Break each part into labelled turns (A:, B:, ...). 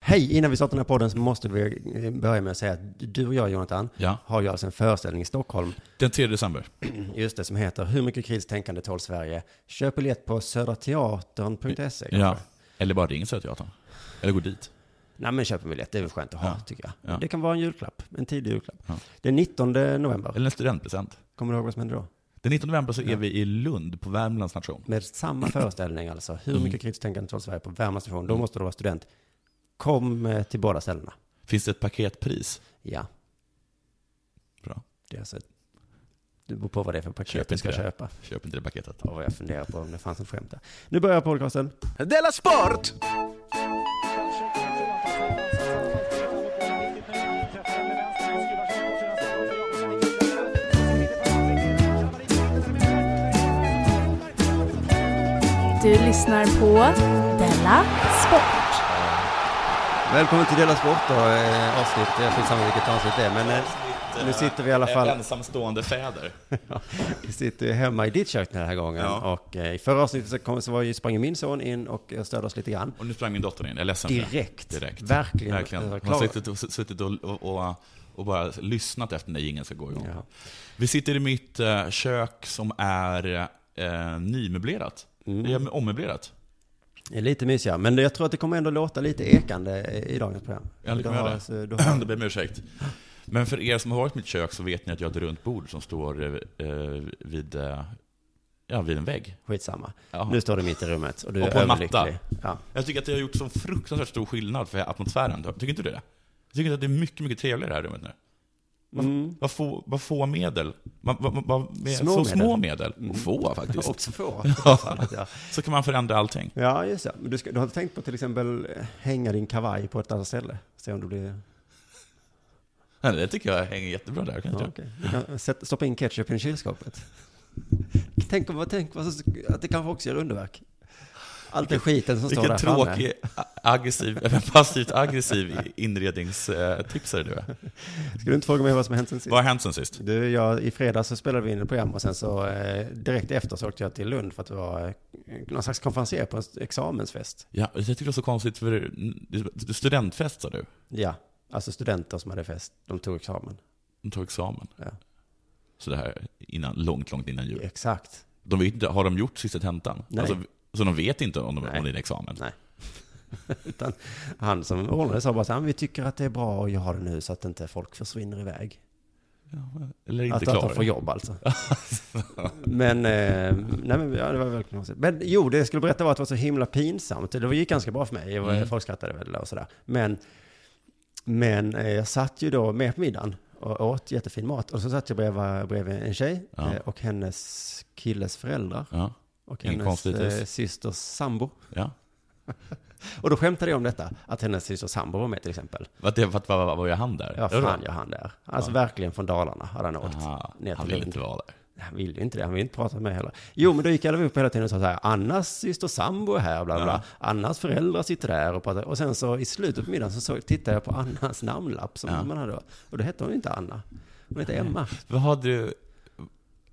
A: Hej! Innan vi startar den här podden så måste vi eh, börja med att säga att du och jag, Jonathan,
B: Ja.
A: har ju alltså en föreställning i Stockholm,
B: Den 3 december.
A: just det, som heter Hur mycket kritiskt tänkande tål Sverige? Köp biljett på södrateatern.se. kanske.
B: Ja. Eller bara ring Södra Teatern. Eller gå dit.
A: Nej, men köp en biljett, det är väl skönt att ha,
B: Ja.
A: tycker jag.
B: Ja.
A: Det kan vara en julklapp, en tidig julklapp.
B: Ja.
A: Den 19 november,
B: Eller en studentpresent.
A: kommer du ihåg vad som hände då?
B: Den 19 november så är vi i Lund på Värmlands nation.
A: Med samma föreställning alltså,
B: Mm.
A: Hur mycket kritiskt tänkande tål Sverige på Värmlands station? Då måste du vara student. Kom eh, till båda ställena.
B: Finns det ett paketpris?
A: Ja,
B: Bra.
A: det är alltså ett... Det beror på vad det är för paket
B: Köp
A: du
B: inte
A: ska
B: det.
A: köpa.
B: Köp inte det paketet.
A: Och vad jag funderar på om det fanns en skämt där. Nu börjar podcasten.
C: Della Sport!
D: Du lyssnar på Della Sport.
A: Välkommen till Dela Sport då, eh, avsnitt. Jag får inte samma vilket avsnitt det är, men eh, nu sitter vi i alla fall
B: Eh, Ensamstående fäder.
A: eh, vi sitter ju hemma i ditt kök den här gången.
B: Ja.
A: Och eh, i förra avsnittet så, kom, så var ju, sprang ju min son in och eh, stödde oss lite grann.
B: Och nu sprang min dotter in. Jag är ledsen för det.
A: Direkt.
B: Direkt.
A: Verkligen.
B: Verkligen.
A: Eh,
B: Hon
A: klar.
B: har suttit och, suttit och, och, och, och bara lyssnat efter när jingeln ska gå igång.
A: Ja.
B: Vi sitter i mitt eh, kök som är eh, nymöblerat. Det är ommöblerat.
A: Mm. Det är lite mysigare, men jag tror att det kommer ändå låta lite ekande eh, i dagens program.
B: Ja, det
A: Du
B: kommer
A: har
B: jag
A: alltså-
B: det.
A: du
B: Då
A: har,
B: ber jag om ursäkt. Men för er som har varit i mitt kök så vet ni att jag har ett runt bord som står eh, eh, vid, eh, ja, vid en vägg.
A: skitsamma.
B: Ja.
A: Nu står du mitt i rummet och du
B: Och
A: är
B: på en matta.
A: överlycklig. Ja.
B: Jag tycker att det har gjort så fruktansvärt stor skillnad för atmosfären. Tycker inte du det? Jag tycker att det är mycket, mycket trevligare i det här rummet nu.
A: Mm.
B: Vad få, vad få medel. Man, vad- vad- vad- med
A: Små
B: så
A: medel.
B: små medel. Och få faktiskt.
A: Också få. Ja.
B: Så kan man förändra allting.
A: Ja, just det. Men du, ska, du har tänkt på till exempel eh, hänga din kavaj på ett annat ställe? Se om du blir...
B: Nej, det tycker jag hänger jättebra där. Kan jag
A: Ja,
B: tycka.
A: okej. Du kan sätta, stoppa in ketchup i kylskåpet. Tänk, om, vad- tänk vad som- att det kanske också gör underverk. Allt den skiten som står där
B: Vilken
A: framme.
B: tråkig, a- aggressiv, även passivt aggressiv inredningstipsare du är.
A: Ska du inte fråga mig vad som har hänt sen sist?
B: Vad har hänt sen sist?
A: Du, jag, i fredags så spelade vi in ett program och sen så eh, direkt efter så åkte jag till Lund för att det var eh, någon slags konferenser på en s- examensfest.
B: Ja, jag tycker det är så konstigt, för studentfest sa du?
A: Ja, alltså studenter som hade fest, de tog examen.
B: De tog examen.
A: Ja.
B: Så det här innan, långt, långt innan jul.
A: Exakt.
B: De vet inte, har de gjort sista tentan?
A: Nej.
B: Alltså, så de vet inte om, de,
A: Nej.
B: om det är en examen?
A: Nej. Utan han som ordnade sa bara så här, "Men vi tycker att det är bra att göra det nu så att inte folk försvinner iväg.
B: Eller inte
A: Att, att de
B: klar?
A: får jobb alltså. men, eh, nej men ja, det var väldigt konstigt. Men jo, det jag skulle berätta var att det var så himla pinsamt. Det gick ganska bra för mig. Jag var,
B: Mm.
A: Folk skrattade väl och sådär. Men, men eh, jag satt ju då med på middagen och åt jättefin mat. Och så satt jag bredvid, bredvid en tjej
B: Ja.
A: eh, och hennes killes föräldrar.
B: ja.
A: Och
B: Inget
A: hennes
B: konstigt,
A: eh,
B: visst.
A: systers sambo.
B: ja.
A: Och då skämtade jag om detta, att hennes systers sambo var med till exempel.
B: Vad det- vad- vad- vad- vad gör han där?
A: Ja,
B: Gör
A: fan
B: det?
A: gör han där. Alltså verkligen från Dalarna hade han åkt.
B: Aha,
A: ner
B: han
A: till
B: vill
A: Lund.
B: inte vara där.
A: Han ville ju inte det, han ville inte prata med mig heller. Jo, men då gick jag upp hela tiden och sa så här, Annas syster sambo är här, bla bla, bla. Annas föräldrar sitter där och pratar. Och sen så i slutet på middagen så, så tittade jag på Annas namnlapp som
B: Ja.
A: man hade. Och då hette hon ju inte Anna, hon hette Emma.
B: Vad har du...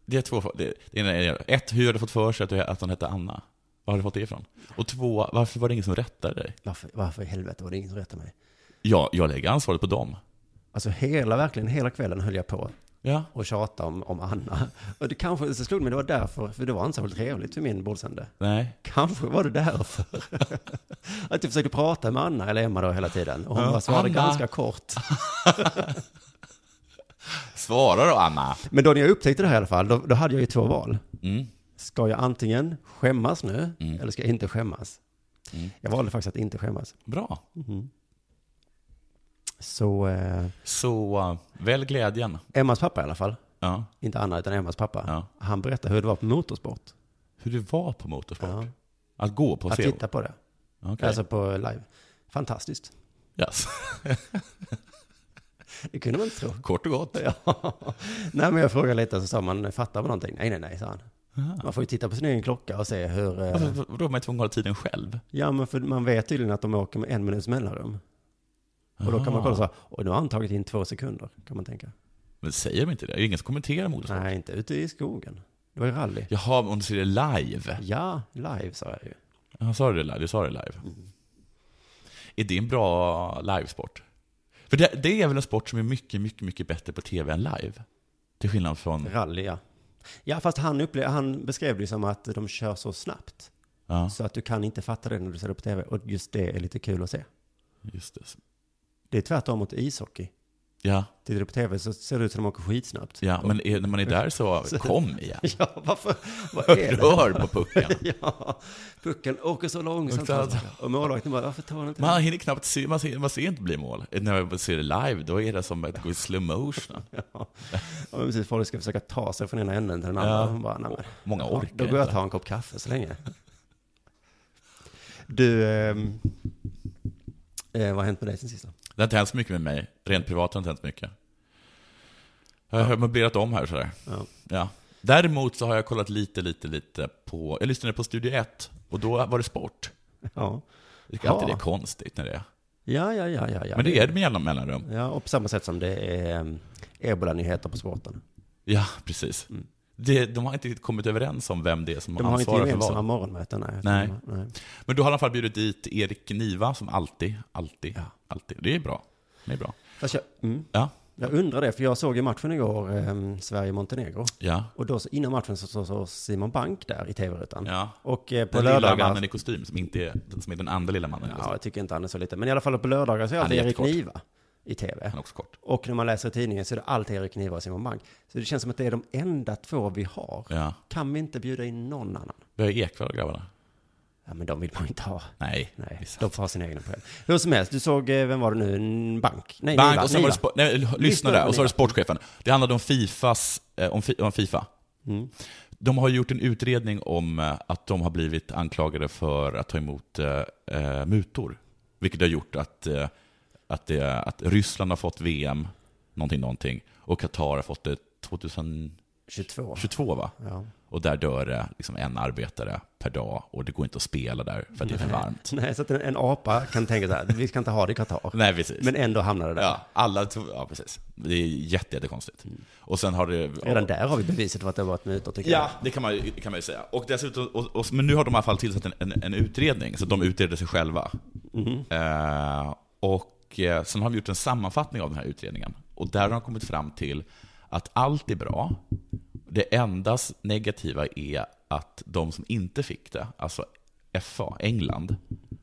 B: Det är två frågor. Det det ena är, ett, hur har du fått för sig att, du, att hon hette Anna? Var har du fått det ifrån? Och två, varför var det ingen som rättade dig?
A: Varför, varför i helvete var det ingen som rättade mig?
B: Ja, jag lägger ansvaret på dem.
A: Alltså hela, verkligen hela kvällen höll jag på
B: Ja.
A: och tjata om, om Anna. Och det kanske, så slog det mig, det var därför, för det var inte särskilt trevligt för min bordsände.
B: Nej.
A: Kanske var det därför. att jag försökte prata med Anna eller Emma då hela tiden. Och hon
B: Ja.
A: bara svarade
B: Anna.
A: ganska kort.
B: Svara då, Anna.
A: Men då när jag upptäckte det här i alla fall, då, då hade jag ju två val.
B: Mm.
A: Ska jag antingen skämmas nu, eller ska jag inte skämmas?
B: Mm.
A: Jag valde faktiskt att inte skämmas.
B: Bra.
A: Så eh,
B: Så, uh, välj glädjen.
A: Emmas pappa i alla fall,
B: Ja.
A: inte Anna utan Emmas pappa,
B: Ja.
A: han berättade hur det var på motorsport.
B: Hur det var på motorsport.
A: Ja.
B: Att gå på
A: Att
B: CO.
A: titta på det,
B: Okej.
A: alltså på live. Fantastiskt.
B: Yes.
A: Det kunde man inte tro.
B: Kort och gott.
A: Ja. Nej men jag frågade lite så sa man, fattar man någonting? Nej nej nej, sa han. Man får ju titta på sin egen klocka och se hur... eh,
B: Varför- Vadå, man är tvungen att ha tiden själv?
A: Ja, men för man vet tydligen att de åker med en minuts mellanrum. Och då kan man
B: Aha.
A: kolla så här, och nu har han tagit in två sekunder, kan man tänka.
B: Men säger de inte det? Det är ingen som kommenterar motorsport.
A: Nej, inte ute i skogen. Det var ju rally.
B: Jaha, men om du ser det live?
A: Ja, live sa jag ju. Mm.
B: Ja, sa du det live? Du sa det live. Är det en bra livesport? För det, det är väl en sport som är mycket, mycket, mycket bättre på tv än live? Till skillnad från...
A: Rally, ja. Ja, fast han, upple- han beskrev det ju som att de kör så snabbt.
B: Ja,
A: Så att du kan inte fatta det när du ser det på tv. Och just det är lite kul att se.
B: just det.
A: Det är tvärtom mot ishockey.
B: Ja,
A: Tittar du på tv så ser det ut som de åker skitsnabbt.
B: ja men är, när man är där så, kom igen.
A: Ja, varför? Vad är det?
B: Rör på pucken.
A: Ja, pucken åker så långsamt.
B: Exakt.
A: Och målvakten bara, varför tar han inte
B: Man hinner knappt se, man ser, man ser inte bli mål. När man ser det live, då är det som att gå i slow motion.
A: Ja, ja men precis. Folk ska försöka ta sig från ena änden till den andra.
B: Ja.
A: Och bara, nej, men,
B: Många
A: ja,
B: orkar
A: Då går jag och
B: inte.
A: tar en kopp kaffe så länge. Du, ehm, eh, vad har hänt med dig sen sist? då?
B: Det har inte hänt så mycket med mig. Rent privat har det inte hänt mycket. Jag har möblerat om här sådär.
A: Ja.
B: Ja. Däremot så har jag kollat lite, lite, lite på... Jag lyssnade på Studio 1 och då var det sport.
A: Ja.
B: Jag tycker alltid
A: Ja.
B: det är konstigt när det är.
A: Ja, ja, ja, ja, ja.
B: Men det är det med jämna mellanrum.
A: Ja, och på samma sätt som det är ehm, ebola-nyheter på sporten.
B: Ja, precis. Det, de har inte riktigt kommit överens om vem det är som
A: Mm. De har inte
B: ansvarar för
A: gemensamma
B: vad.
A: morgonmöten. Nej.
B: Nej.
A: nej.
B: Men då har de i alla fall bjudit dit Erik Niva som alltid, alltid,
A: Ja.
B: alltid. Det är bra. Det är bra.
A: Fast jag, mm,
B: Ja,
A: jag undrar det, för jag såg ju matchen igår, ehm, Sverige-Montenegro.
B: ja,
A: Och då, så, innan matchen så så- så Simon Bank där i tv-rutan.
B: ja.
A: Och eh, på
B: Den lilla
A: lördagar...
B: mannen i kostym som inte är, som är den andra lilla mannen i
A: Ja,
B: kostym.
A: jag tycker inte han är så liten. Men i alla fall på lördagar så är
B: Han
A: alltid
B: är
A: Erik
B: jättekort.
A: Niva i tv.
B: Han är också kort.
A: Och när man läser i tidningen så är det alltid Erik Niva och Simon Bank. Så det känns som att det är de enda två vi har.
B: Ja.
A: Kan vi inte bjuda in någon annan?
B: Vi har ju Ekwall och grabbarna.
A: Ja, men de vill man inte ha.
B: Nej.
A: Nej,
B: det är sant.
A: de får ha sin egna program. Hur som helst, du såg, eh, vem var det nu? N- Bank? Nej,
B: Bank,
A: Niva.
B: och sen var det
A: Niva.
B: sport, nej,
A: Lyssna
B: lyssna
A: på
B: där, och så
A: Niva.
B: var det sportchefen. Det handlade om Fifas, eh, om, Fi- om Fifa.
A: Mm.
B: De har gjort en utredning om eh, att de har blivit anklagade för att ta emot eh, eh, mutor. Vilket har gjort att, eh, att, det, att Ryssland har fått VM, någonting, någonting, och Qatar har fått det 2022
A: 22.
B: va?
A: Ja.
B: Och där dör det liksom en arbetare per dag och det går inte att spela där för att det är för
A: Mm.
B: varmt.
A: Nej, så att en, en apa kan tänka så här, vi ska inte ha det i Qatar.
B: Nej, precis.
A: Men ändå hamnar det där. Mm.
B: Ja, alla tog, ja precis. Det är jätte, jättekonstigt. Och sen har det...
A: Redan där har vi beviset för att det har varit mutor, tycker
B: Ja, det kan man ju, det kan man ju säga. Och dessutom, och, och, men nu har de i alla fall tillsatt en, en, en utredning, så de utreder sig själva. Eh, och eh, sen har de gjort en sammanfattning av den här utredningen. Och där har de kommit fram till att allt är bra. Det enda negativa är att de som inte fick det, alltså FA, England,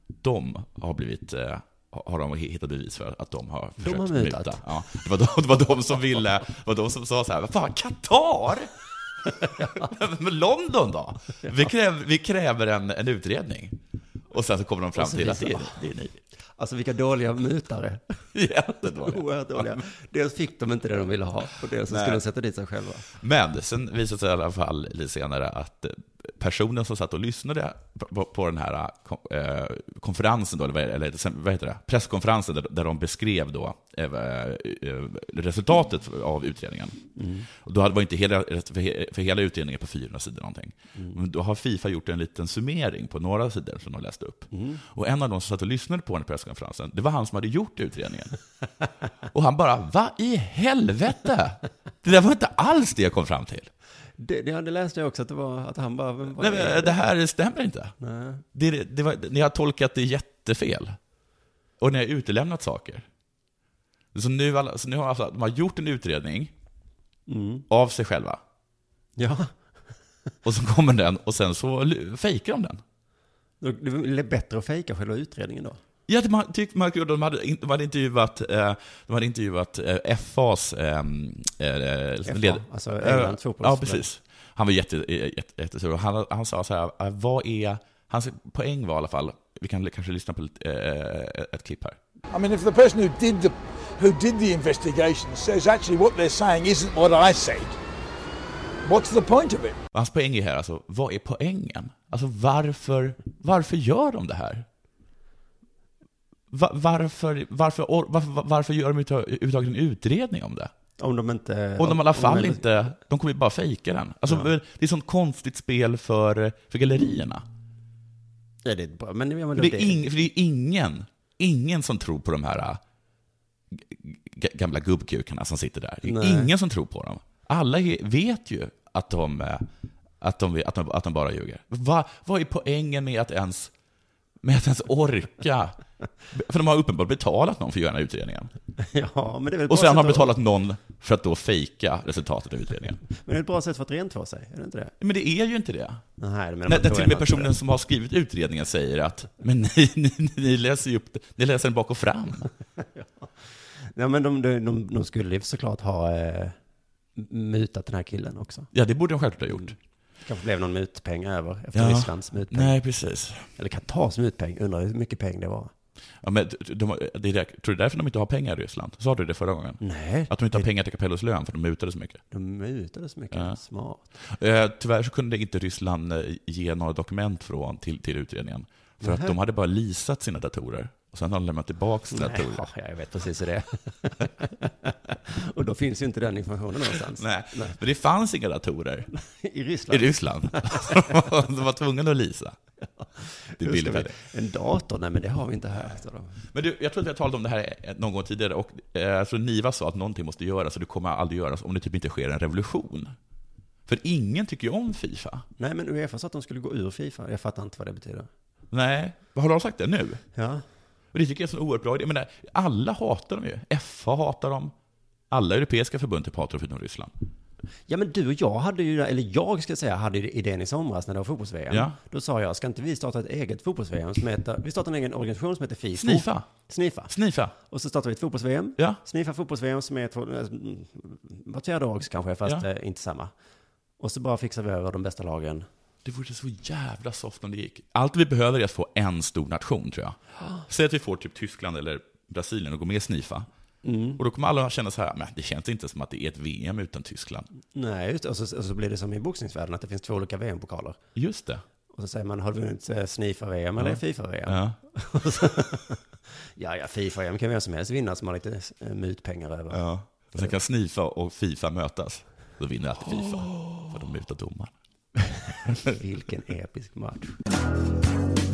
B: de har blivit eh, har de hittat bevis för att de har försökt
A: har mutat.
B: muta. Ja, det, var de, det var de som ville, det var de som sa så här, vad fan, Qatar? Men London då? Vi kräver, vi kräver en, en utredning. Och sen så kommer de fram
A: så
B: till att det
A: visar-
B: är, det är ni.
A: jag. Alltså vilka dåliga mutare.
B: Jättedåliga.
A: Oerhört dåliga. Dels fick de inte det de ville ha och dels så
B: Nej.
A: skulle de sätta dit sig själva.
B: Men sen visade det sig i alla fall lite senare att eh, personen som satt och lyssnade på, på den här eh, konferensen, då, eller, vad- eller sen- vad heter det? presskonferensen, där, där de beskrev då, eh, eh, resultatet av utredningen. Och då hade- var inte hela, för he- för hela utredningen på 400 sidor någonting. Men då har Fifa gjort en liten summering på några sidor som de läste upp. Och en av de som satt och lyssnade på den här presskonferensen, det var han som hade gjort utredningen. Och han bara, vad i helvete? Det där var inte alls det jag kom fram till.
A: Det, det, det läste jag också att det var, att han bara, vem var
B: Nej, men det här stämmer inte.
A: Nej.
B: Det, det var, ni har tolkat det jättefel. Och ni har utelämnat saker. Så nu, alla, så nu har alltså, de har gjort en utredning
A: Mm.
B: av sig själva.
A: Ja,
B: Och så kommer den och sen så l- fejkar de den.
A: då- det är väl bättre att fejka själva utredningen då.
B: Ja, det man, tyck, man, gjorde- de, hade, in- de hade intervjuat, eh, de hade intervjuat eh, FAs eh, eh,
A: FA,
B: led-
A: alltså England
B: Eh,
A: fotbolls-
B: Ja, precis. Han var jätte, eh, jätte, jättesur. Och Han, han sa så här, eh, vad är... Hans poäng var i alla fall, vi kan kanske lyssna på lite, eh, ett klipp här.
C: I mean, if the person who did the who did the investigation says actually what they're saying isn't what I said, what's the point of it?
B: Och hans poäng är här alltså, vad är poängen? Alltså varför, varför gör de det här? Va, varför, varför, or, varför, varför gör de överhuvudtaget- överhuvudtaget en utredning om det?
A: Om de inte...
B: Och de i alla fall
A: de-
B: inte, de kommer ju bara fejka den. Alltså, Det är sånt konstigt spel för, för gallerierna.
A: Ja, det är bra. Men, ja, men
B: För det, är ing, för det är ingen, ingen som tror på de här äh, g- g- gamla gubbkukarna som sitter där. Det är
A: Nej.
B: ingen som tror på dem. Alla he- vet ju att de, äh, att de, att de, att de bara ljuger. Va, vad är poängen med att ens, med att ens orka För de har uppenbart betalat någon för att göra den här utredningen.
A: Ja, men det är väl ett
B: Och
A: bra
B: sen har
A: sätt att-
B: betalat någon för att då fejka resultatet av utredningen.
A: Men det är ett bra sätt för att rentvå sig, är det inte det?
B: Men det är ju inte det.
A: Nej, det menar
B: När,
A: man
B: när
A: då
B: till
A: är
B: och med
A: man inte
B: personen som har skrivit utredningen säger att men ni, ni, ni läser ju upp det, ni läser den bak och fram.
A: det. Ja, men de, de, de, de skulle ju såklart ha eh, mutat den här killen också.
B: Ja, det borde de självklart ha gjort.
A: Det kanske blev någon mutpeng över efter
B: Ja.
A: Rysslands mutpeng.
B: Nej, precis.
A: Eller Katars mutpeng, undrar hur mycket pengar det var.
B: Ja, men de, de, det är, där- tror du därför de inte har pengar i Ryssland? Sa du det förra gången?
A: Nej,
B: Att de inte har pengar till Capellos lön för de mutade så mycket.
A: de mutade så mycket.
B: Ja.
A: Smart.
B: Eh, tyvärr så kunde inte Ryssland eh, ge några dokument från till, till utredningen. För att
A: Nähä.
B: de hade bara leasat sina datorer. Och sen har de lämnat tillbaka sina
A: Nej,
B: datorer.
A: ja, jag vet precis hur det är. Och då finns ju inte den informationen någonstans.
B: Nej, men det fanns inga datorer
A: I
B: i
A: Ryssland.
B: Ryssland. de var tvungna att leasa. Det är
A: Hur ska
B: billigt.
A: vi-
B: för det.
A: En dator? Nej, men det har vi inte här. sa de.
B: Men du, jag tror att vi har talat om det här någon gång tidigare. Och, eh, jag tror Niva sa att någonting måste göras och det kommer aldrig göras om det typ inte sker en revolution. För ingen tycker ju om Fifa.
A: Nej, men Uefa sa att de skulle gå ur Fifa. Jag fattar inte vad det betyder.
B: Nej, har de sagt det nu?
A: Ja,
B: Och det tycker jag är en sån oerhört bra idé. Men alla hatar dem ju. FA hatar dem. Alla europeiska förbund typ hatar dem förutom Ryssland.
A: ja men du och jag hade ju, eller jag ska säga, hade ju idén i somras när det var fotbolls-VM.
B: Ja.
A: Då sa jag, ska inte vi starta ett eget fotbolls-VM som heter, vi startar en egen organisation som heter FIFO.
B: Snifa.
A: Snifa.
B: Snifa.
A: Och så startar vi ett fotbolls-VM.
B: Ja.
A: Snifa fotbolls-VM som är två, eh, mm, vart fjärde år kanske, fast
B: Ja.
A: eh, inte samma. Och så bara fixar vi över de bästa lagen.
B: Det vore så jävla soft om det gick. Allt vi behöver är att få en stor nation, tror jag.
A: Ah.
B: Säg att vi får typ Tyskland eller Brasilien och går med i Snifa.
A: Mm.
B: Och då kommer alla att känna så här, men det känns inte som att det är ett VM utan Tyskland.
A: Nej, just det. och så, och så blir det som i boxningsvärlden, att det finns två olika VM-pokaler.
B: Just det.
A: Och så säger man, har du vunnit eh, Snifa-VM eller Fifa-VM?
B: Ja.
A: Ja, ja, Fifa-VM kan vem som helst vinna som har lite eh, mutpengar över.
B: ja. Och sen kan Snifa och Fifa mötas. Då vinner alltid Fifa.
A: Ah.
B: För de mutar domaren.
A: Vilken episk match.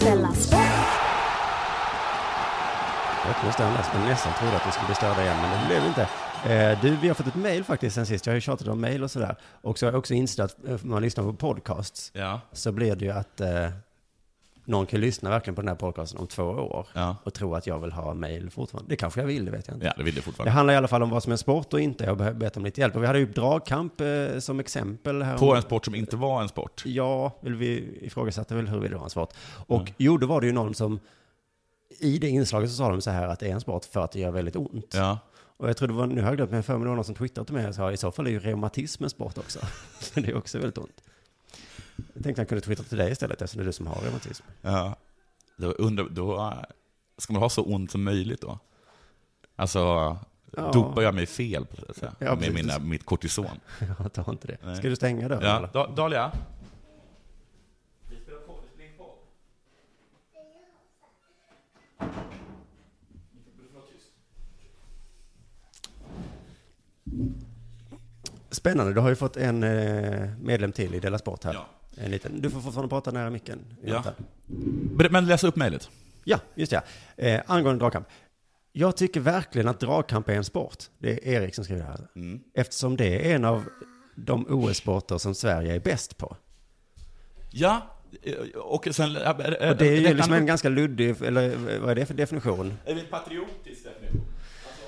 D: Della Sport!
A: Jag måste annars, jag nästan trodde att vi skulle bli störda igen, men det blev vi inte. Eh, du, vi har fått ett mejl faktiskt sen sist. Jag har ju tjatat om mejl och sådär. Och så har jag också insett att eh, när man lyssnar på podcasts
B: Ja.
A: så blir det ju att eh, någon kan lyssna verkligen på den här podcasten om två år
B: Ja.
A: och tro att jag vill ha mejl fortfarande. Det kanske jag vill, det vet jag inte.
B: Ja, det vill jag
A: Det
B: fortfarande.
A: handlar i alla fall om vad som är sport och inte. Jag har bett om lite hjälp. Och vi hade ju dragkamp eh, som exempel här.
B: På en sport som inte var en sport.
A: Ja, vill vi ifrågasatte väl huruvida det var en sport. Och
B: Mm.
A: jo, då var det ju någon som, i det inslaget så sa de så här att det är en sport för att det gör väldigt ont.
B: Ja.
A: Och jag tror det var, nu har jag glömt, men för mig det var någon som twittrade till mig och sa i så fall är ju reumatism en sport också. För det är också väldigt ont. Jag tänkte jag kunde twittra till dig istället eftersom det är du som har reumatism.
B: Ja. Då, undrar, då äh, ska man ha så ont som möjligt då? Alltså,
A: Ja.
B: dopar jag mig fel på det, så här,
A: Ja,
B: med
A: precis.
B: mina, mitt kortison?
A: Jag tar inte det.
B: Nej.
A: Ska du stänga dörren?
B: Ja.
A: eller?
B: Da- Dahlia?
A: Spännande, du har ju fått en eh, medlem till i Della Sport här.
B: Ja.
A: En liten, du får fortfarande prata nära micken.
B: Ja.
A: Jonathan.
B: Ber- Men läs upp mejlet.
A: Ja, just det. ja. Eh, angående dragkamp. Jag tycker verkligen att dragkamp är en sport. Det är Erik som skriver det här.
B: Mm.
A: Eftersom det är en av de OS-sporter som Sverige är bäst på.
B: Ja, eh, och sen... äh, äh,
A: Och det är ju
B: räkna-
A: liksom en ganska luddig, eller eh, vad är det för definition?
B: Är det en patriotisk definition? Alltså,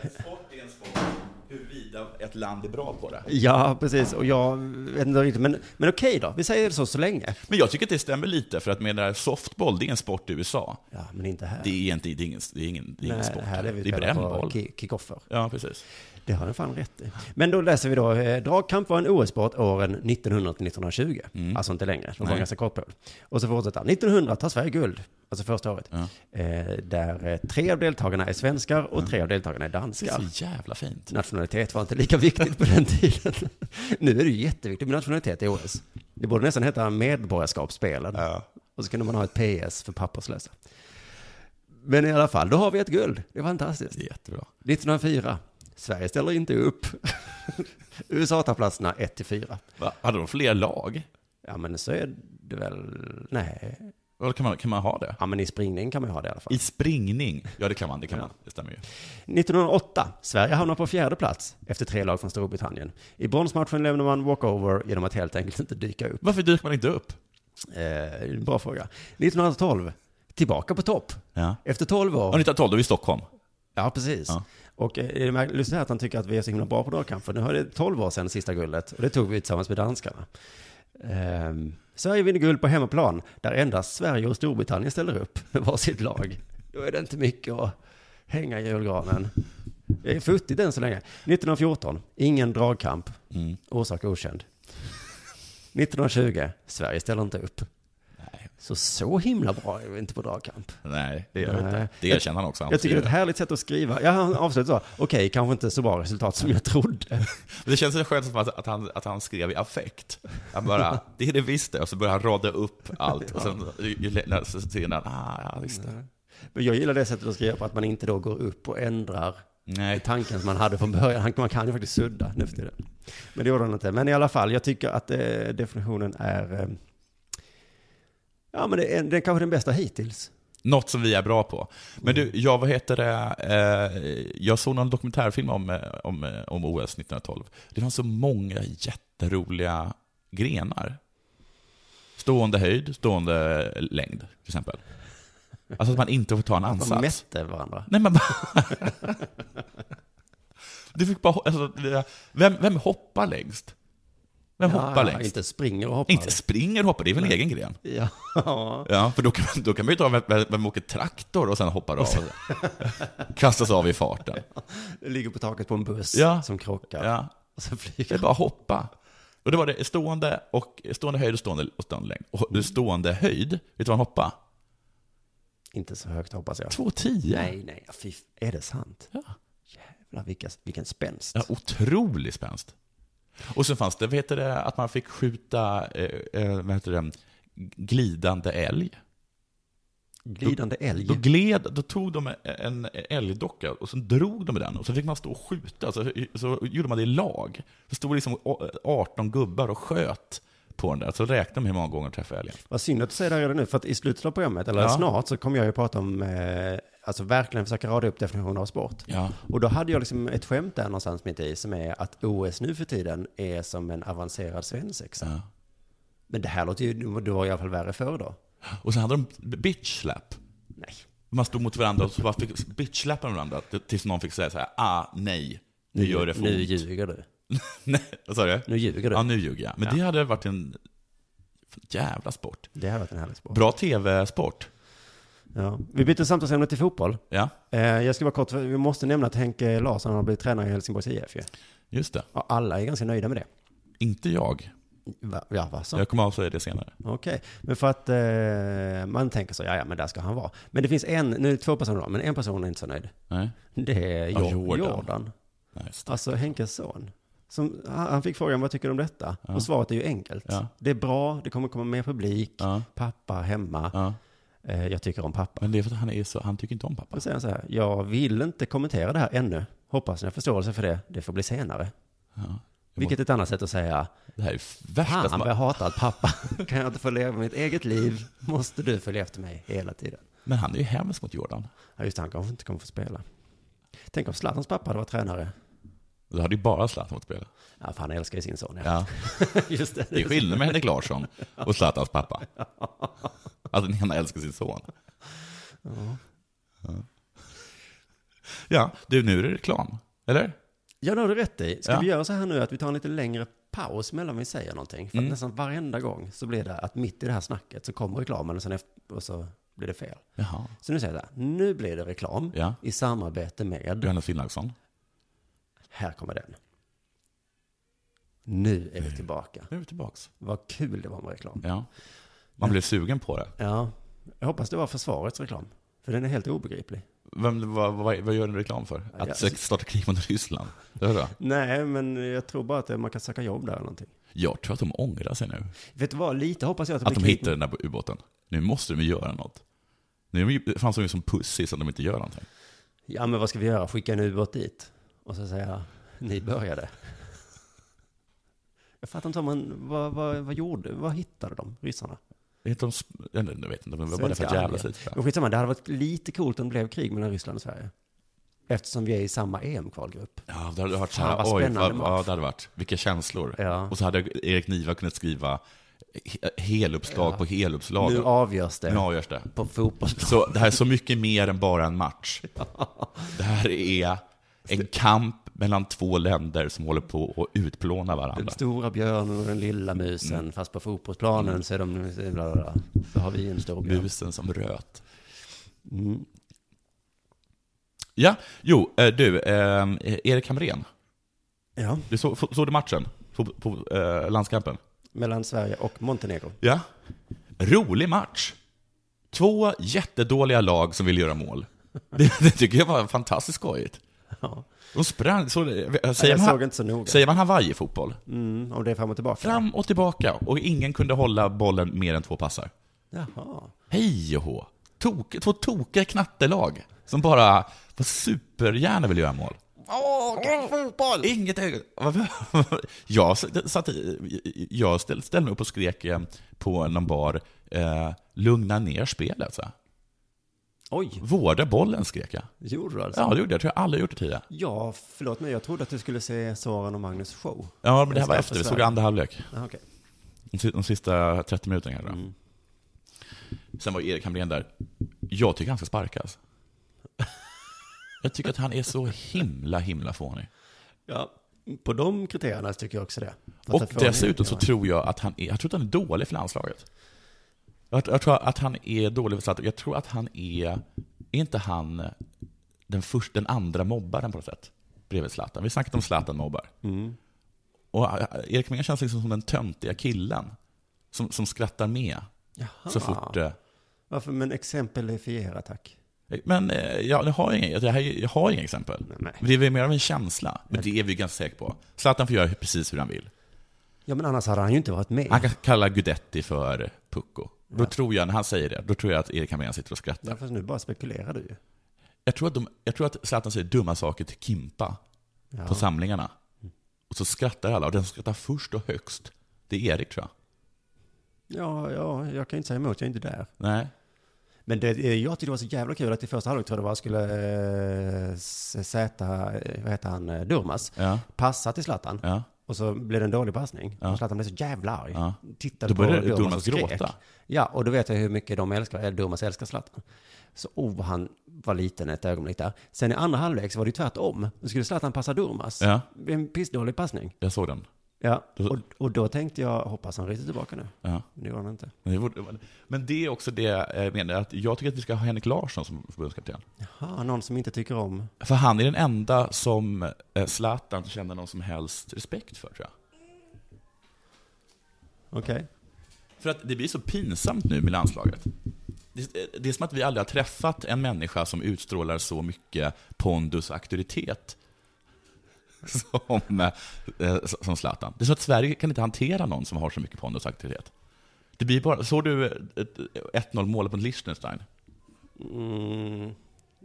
B: en sport är en sport huruvida ett land är bra på det.
A: Ja, precis. Och jag vet inte riktigt, men, men okej då. Vi säger det så så länge.
B: Men jag tycker att det stämmer lite, för att med det här softball, det är en sport i USA.
A: Ja, men inte här.
B: Det är egentligen det är ingen, det är ingen, det är ingen
A: Nej,
B: sport.
A: här är vi
B: det är
A: spelar på
B: brännboll.
A: ki- kickoffer.
B: Ja, precis.
A: Det har den fan rätt i. Men då läser vi då, eh, dragkamp var en OS-sport åren 1900 till 1920. Alltså inte längre, de var
B: Mm. Nej.
A: ganska kort på. Och så fortsätter han. 1900 tar Sverige guld, alltså första året. Eh, där eh, tre av deltagarna är svenskar och tre av deltagarna är
B: Det
A: danskar.
B: är så jävla fint.
A: Nationalitet var inte lika viktigt på den tiden. nu är det ju jätteviktigt med nationalitet i OS. Det borde nästan heta medborgarskapsspelen.
B: Ja.
A: Och så kunde man ha ett PS för papperslösa. Men i alla fall, då har vi ett guld. Det är fantastiskt.
B: Det är jättebra.
A: 1904. Sverige ställer inte upp. USA tar platserna 1 till 4.
B: Va? Hade de fler lag?
A: Ja, men så är det väl... Nej.
B: Eller kan man, kan man ha det?
A: Ja, men i springning kan man ju ha det i alla fall.
B: I springning? Ja, det kan man. Det, kan man. det stämmer ju.
A: 1908. Sverige hamnar på fjärde plats efter tre lag från Storbritannien. I bronsmatchen lämnar man walkover genom att helt enkelt inte dyka upp.
B: Varför dyker man inte upp?
A: Eh, bra fråga. 1912. tillbaka på topp.
B: Ja.
A: Efter 12 år.
B: Och 1912, då är vi i Stockholm.
A: Ja, precis.
B: Ja.
A: Och eh, är det märk- lustigt att han tycker att vi är så himla bra på dragkamp, för nu har det 12 år sedan sista guldet, och det tog vi tillsammans med danskarna. Ehm, Sverige vinner guld på hemmaplan, där endast Sverige och Storbritannien ställer upp med varsitt lag. Då är det inte mycket att hänga i julgranen. Det är futtigt än så länge. 1914, ingen dragkamp.
B: Mm.
A: Orsak okänd. 1920, Sverige ställer inte upp.
B: Nej.
A: Så så himla bra är vi inte på dragkamp.
B: Nej, det gör vi
A: Nej.
B: inte. Det erkänner han också. Han
A: Jag tycker det är
B: skriver
A: ett härligt sätt att skriva. Ja, han avslutar så. Okej, kanske inte så bra resultat som jag trodde.
B: Men Det känns så skönt som att, att, han, att han skrev i affekt. Han bara, det är det visst det, och så börjar han rada upp allt. Och sen ju- ju längre- så ser han, ah, ja visst det.
A: Men jag gillar det sättet att skriva på, att man inte då går upp och ändrar
B: Nej.
A: tanken som man hade från början. Han- Man kan ju faktiskt sudda nu för tiden. Men det gjorde han inte. Men i alla fall, jag tycker att eh, definitionen är... eh, Ja, men det är, det är kanske den bästa hittills.
B: Något som vi är bra på. Men
A: Mm.
B: du, jag, vad heter det, eh, jag såg någon dokumentärfilm om, eh, om, eh, om OS 1912. Det fanns så många jätteroliga grenar. Stående höjd, stående längd, till exempel. Alltså att man inte får ta en
A: Man
B: ansats.
A: mätte varandra.
B: Nej men bara... Du fick bara... Alltså, det- vem, vem hoppar längst? Vem hoppar
A: Ja,
B: längst? Inte,
A: Inte springer och hoppar.
B: springer och hoppar, det är väl en egen gren?
A: Ja.
B: Ja, för då kan, då kan man ju ta vem, vem, vem åker traktor och sen hoppar av. Kastas av i farten.
A: Ligger på taket på en buss
B: Ja.
A: som krockar.
B: Ja,
A: Och så
B: det
A: flyger
B: är bara hoppa. Och det var det stående, och, stående höjd och stående, och stående längd. Och stående höjd, vet du vad han hoppade?
A: Inte så högt hoppas jag.
B: 2,10.
A: Nej, nej, fy, f- är det sant?
B: Ja.
A: Jävlar vilka, vilken spänst.
B: Ja, otrolig spänst. Och så fanns det, vad heter det, att man fick skjuta, eh, eh, vad heter det, glidande älg.
A: Glidande älg.
B: Då gled, då tog de en älgdocka och så drog de med den och så fick man stå och skjuta. Så, så gjorde man det i lag. Så stod det liksom 18 gubbar och sköt på den där. Så räknade de hur många gånger de träffade älgen.
A: Vad synd att du säger det här redan nu, för att i slutet av programmet, eller
B: Ja.
A: snart, så kommer jag ju prata om, eh, alltså verkligen försöka rada upp definitioner av sport.
B: Ja.
A: Och då hade jag liksom ett skämt där någonstans mitt i, som är att OS nu för tiden är som en avancerad svensexa.
B: Ja.
A: Men det här låter ju, det var i alla fall värre förr då.
B: Och sen hade de bitch slap.
A: Nej.
B: Man stod mot varandra och så bara fick bitch slappa varandra tills någon fick säga så här, ah, nej, nu gör det för
A: Nu
B: ont."
A: ljuger du.
B: Nej, vad sa du?
A: Nu ljuger du.
B: Ja, nu ljuger jag. Men det hade varit en jävla sport.
A: Det här var en härlig sport.
B: Bra tv-sport.
A: Ja. Vi byter samtalsämne till fotboll.
B: Ja,
A: Eh, jag ska vara kort, för vi måste nämna att Henke Larsson har blivit tränare i Helsingborgs IF ju.
B: just det.
A: Ja, alla är ganska nöjda med det.
B: Inte jag.
A: Va, ja, va, så?
B: Jag kommer att säga det senare.
A: Okej, men för att eh, man tänker så, ja, ja, men där ska han vara. Men det finns en, nu är det två personer då, men en person är inte så nöjd.
B: Nej.
A: Det är
B: Ja,
A: Jor-
B: Jordan.
A: Jordan.
B: Nej, just det.
A: alltså Henkes son. Som, han han fick frågan, vad tycker du om detta? Och svaret är ju enkelt.
B: Ja.
A: Det är bra, det kommer komma mer publik,
B: Ja.
A: pappa hemma,
B: Ja.
A: eh, jag tycker om pappa.
B: Men det är för att han är så, han tycker inte om pappa.
A: Då säger han så här, jag vill inte kommentera det här ännu. Hoppas ni har förståelse för det, det får bli senare. Vilket är ett annat sätt att säga,
B: Det här är värsta
A: Fan
B: som
A: vad jag
B: har...
A: hatar att pappa kan jag inte få leva mitt eget liv. Måste du följa efter mig hela tiden.
B: Men han är ju hemsk mot Jordan.
A: Ja, just det, han kanske inte kommer få spela. Tänk om Zlatans pappa hade varit tränare.
B: Då hade ju bara Zlatan fått spela.
A: Ja, för han älskar ju sin son. Ja.
B: Ja.
A: Just det.
B: Det är skillnad med Henrik Larsson och Zlatans pappa. Att den ena älskar sin son. Ja. Ja, du, nu är det reklam. Eller?
A: Ja, det har du rätt i. Ska
B: Ja.
A: vi göra så här nu att vi tar en lite längre paus mellan vi säger någonting? För att nästan varenda gång så blir det att mitt i det här snacket så kommer reklamen och, sen efter, och så blir det fel.
B: Jaha.
A: Så nu säger jag så här, nu blir det reklam
B: Ja.
A: i samarbete med,
B: Johannes Finnlaugsson.
A: här kommer den. Nu är vi tillbaka.
B: Nu är vi tillbaks.
A: Vad kul det var med reklam.
B: Ja. Man blev sugen på det.
A: Ja, jag hoppas det var försvarets reklam. För den är helt obegriplig.
B: Vem, vad, vad, vad gör en reklam för? Att
A: ja.
B: sök- starta krig mot Ryssland? Det var bra.
A: Nej, men jag tror bara att man kan söka jobb där eller någonting.
B: Jag tror att de ångrar sig nu.
A: Vet du vad, lite hoppas jag att det
B: Att de
A: blir krig-
B: hittar den där ubåten. Nu måste de ju göra något. Nu är de ju- fanns de ju som pussis om de inte gör någonting.
A: Ja, men vad ska vi göra? Skicka en ubåt dit? Och så säga, ni började. Jag fattar inte, men vad, vad, vad gjorde, vad hittade de, ryssarna?
B: Vet de, sp- eller, jag vet inte, de var bara där för att
A: Svenska
B: jävla
A: armén.
B: sig. tror
A: Men
B: jag.
A: skitsamma, det hade varit lite coolt om det blev krig mellan Ryssland och Sverige. Eftersom vi är i samma EM-kvalgrupp.
B: Ja, det hade varit så
A: Fan,
B: här,
A: vad
B: oj,
A: spännande
B: vad,
A: match.
B: ja, det hade varit, vilka känslor.
A: Ja.
B: Och så hade Erik Niva kunnat skriva he- heluppslag på heluppslag.
A: Nu avgörs det
B: Nu avgörs det.
A: på fotbollsplan.
B: Så det här är så mycket mer än bara en match. Det här är en kamp mellan två länder som håller på att utplåna
A: Den
B: varandra.
A: stora björnen och den lilla musen,
B: Mm.
A: fast på fotbollsplanen så är de... Bla bla bla. Så har vi en stor björn.
B: Musen som röt.
A: Mm.
B: Ja, jo, eh, du, eh, Erik Hamrén,
A: Ja,
B: du såg, såg du matchen? På, på eh, landskampen?
A: mellan Sverige och Montenegro.
B: Ja. Rolig match. Två jättedåliga lag som vill göra mål. Det, det tycker jag var fantastiskt skojigt.
A: Ja.
B: De sprang, så, eh, säger,
A: Jag
B: man,
A: såg inte så noga.
B: säger man Hawaii-fotboll?
A: Mm, om det är fram och tillbaka.
B: Fram och tillbaka, och ingen kunde hålla bollen mer än två passar.
A: Jaha.
B: Hej och hå! Tok, två tokiga knattelag som bara vad supergärna vill göra mål.
A: Åh, fotboll!
B: Inget ögon. Jag, s- satt, i- jag ställ- ställde mig upp och skrek eh, på någon bar, eh, lugna ner spelet. Så. här.
A: Oj,
B: Vårda bollen skrek jag.
A: gjorde du alltså?
B: Ja, det gjorde jag. Jag tror jag aldrig gjort det tidigare.
A: Ja, förlåt mig. Jag trodde att du skulle se Soran och Magnus show.
B: Ja, men det här var
A: Straff
B: efter. Vi
A: för
B: såg
A: Sverige.
B: andra halvlek.
A: Ah, okej.
B: De si- De sista 30 minuterna kanske. Sen var ju Erik Hamrén där. Jag tycker han ska sparkas. Jag tycker att han är så himla, himla fånig.
A: Ja, på de kriterierna så tycker jag också det. Fast
B: Och
A: att få
B: dessutom
A: en-
B: så tror jag att han är, jag tror att han är dålig för landslaget. Jag, jag tror att han är dålig för landslaget. Jag tror att han är, är inte han eh, den, först, den andra mobbaren på något sätt? Bredvid Zlatan. Vi snackade om Zlatan mobbar. Och eh, Erik Hamrén känns liksom som den töntiga killen. Som, som skrattar med
A: Jaha.
B: så fort... eh,
A: Varför? Men exemplifiera tack.
B: Men eh, jag, jag, har inga, jag, jag har inga exempel.
A: Nej.
B: Det är väl mer av en känsla. Men det är vi ganska säkra på. Zlatan får göra precis hur han vill.
A: Ja, men annars hade han ju inte varit med.
B: Han kan kalla Gudetti för Pucko. Då tror jag, när han säger det, då tror jag att Erik Hamrén sitter och skrattar.
A: Ja, fast nu bara spekulerar du ju.
B: Jag, tror att de, jag tror att Zlatan säger dumma saker till Kimpa på samlingarna. Och så skrattar alla. Och den som skrattar först och högst, det är Erik tror jag.
A: Ja, ja, jag kan ju inte säga emot, jag är inte där.
B: Nej.
A: Men det, eh, jag tyckte det var så jävla kul att i första halvlek tror jag det var, skulle eh, S- Zäta, eh, vad heter han, eh, Durmaz,
B: Ja.
A: passa till Zlatan.
B: Ja.
A: Och så blev det en dålig passning. Och Zlatan blev så jävla arg.
B: Ja.
A: Tittade
B: Då
A: på
B: började
A: Durmaz
B: Durmaz
A: och skrek.
B: gråta.
A: Ja, och då vet jag hur mycket de älskar, eller Durmaz älskar Zlatan. Så oh, han var liten ett ögonblick där. Sen i andra halvlek så var det ju tvärtom. Då skulle Zlatan passa Durmaz.
B: Ja.
A: En pissdålig passning.
B: Jag såg den.
A: Ja,
B: Då-
A: och, och då tänkte jag, hoppas han ryter tillbaka nu.
B: Ja.
A: Men det gjorde han inte.
B: Men det borde- Men det är också det jag menar, att jag tycker att vi ska ha Henrik Larsson som förbundskapten.
A: Jaha, någon som inte tycker om
B: För han är den enda som eh, Zlatan känner någon som helst respekt för, tror jag.
A: Okej.
B: För att det blir så pinsamt nu med landslaget. Det, eh, det är som att vi aldrig har träffat en människa som utstrålar så mycket pondus och auktoritet som, eh, som Zlatan. Det är som att Sverige kan inte hantera någon som har så mycket pondus och auktoritet. Det blir bara, såg du eh, ett- 1-0-målet mot Liechtenstein?
A: Mm,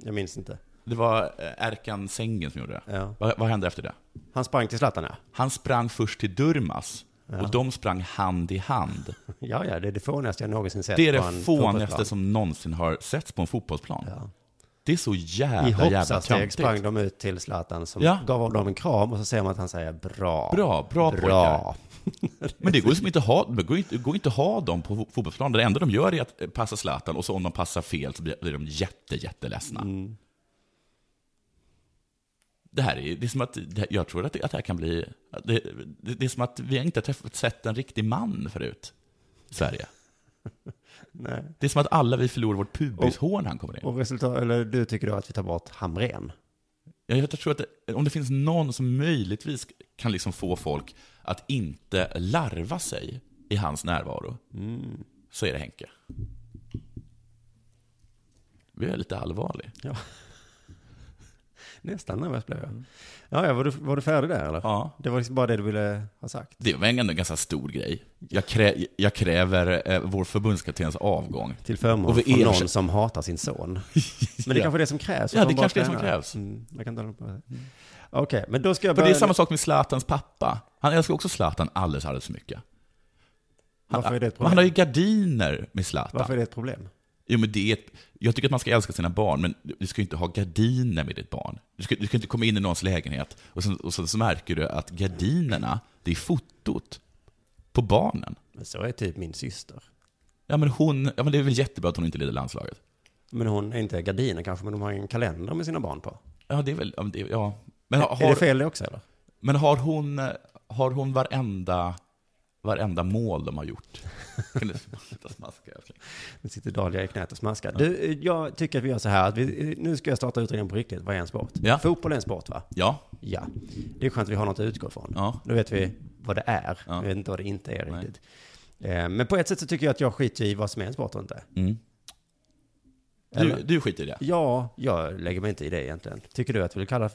A: jag minns inte.
B: Det var eh, Erkan Sängen som gjorde det.
A: Ja.
B: Vad, vad hände efter det?
A: Han sprang till Zlatan, ja.
B: Han sprang först till Durmas och de sprang hand i hand.
A: Ja, ja, det är det fånigaste jag någonsin sett
B: Det är
A: på en
B: det fånigaste
A: fotbollsplan.
B: som någonsin har setts på en fotbollsplan. Det är så
A: I
B: jävla, jävla
A: hoppsasteg
B: töntigt.
A: sprang de ut till Zlatan som
B: Ja.
A: gav av dem en kram och så ser man att han säger bra.
B: Bra, bra pojkar. Men det går ju som inte att ha, det går ju inte, det går ju inte att ha dem på fo- fotbollsplanen. Det enda de gör är att eh, passa Zlatan och så om de passar fel så blir blir de jätte, jätteledsna. Det här är, det är som att, det här, jag tror att det, att det här kan bli, att det, det, det är som att vi inte har träffat, sett en riktig man förut i Sverige.
A: Nej.
B: Det är som att alla vi förlorar vårt pubishår när han kommer in.
A: Och resultat, eller du tycker då att vi tar bort Hamren?
B: Jag jag tror att det, om det finns någon som möjligtvis kan liksom få folk att inte larva sig i hans närvaro, så är det Henke. Vi är lite allvarlig.
A: Ja. Nästan nervös blev jag. Ja, ja var, du, var du färdig där eller?
B: Mm. Ja.
A: Det var liksom bara det du ville ha sagt.
B: Det var ändå en ganska stor grej. Jag, krä, jag kräver eh, vår förbundskaptens avgång.
A: Till förmån
B: Och vi
A: för
B: är-
A: någon som hatar sin son. Men det är
B: Ja.
A: kanske är det som krävs.
B: Ja,
A: för
B: det
A: en bra
B: kanske är det som
A: tränare.
B: krävs.
A: Mm, jag kan inte hålla på med det. Okej, men då ska jag
B: För
A: börja...
B: det är samma sak med Zlatans pappa. Han älskar också Zlatan alldeles, alldeles för mycket.
A: Varför är det ett
B: Men
A: problem?
B: han har ju gardiner med Zlatan.
A: Varför är det ett problem?
B: Jo, men det är ett, jag tycker att man ska älska sina barn, men du ska ju inte ha gardiner med ditt barn. Du ska, du ska inte komma in i någons lägenhet och sen, och sen så märker du att gardinerna, det är fotot på barnen.
A: Men så är typ min syster.
B: Ja men hon, ja men det är väl jättebra att hon inte leder landslaget.
A: Men hon är inte gardiner kanske, men de har en kalender med sina barn på.
B: Ja det är väl, ja. men det- ja. Men, har,
A: Är det fel det också eller?
B: men har hon, har hon varenda, varenda mål de har gjort? Kan du sluta smaska älskling?
A: Nu sitter Dahlia i knät och smaskar. Du, eh, jag tycker att vi gör så här, att vi, eh, nu ska jag starta utredningen på riktigt. Vad är en sport?
B: Ja.
A: Fotboll är en sport va?
B: Ja,
A: Ja. Det är skönt att vi har något att utgå från.
B: Ja.
A: Då vet vi vad det är.
B: Ja.
A: Vi vet inte vad det inte är
B: Nej.
A: riktigt. Eh, Men på ett sätt så tycker jag att jag skiter i vad som är en sport och inte.
B: Mm. du, du skiter i det.
A: Ja, jag lägger mig inte i det egentligen. Tycker du att vi kallar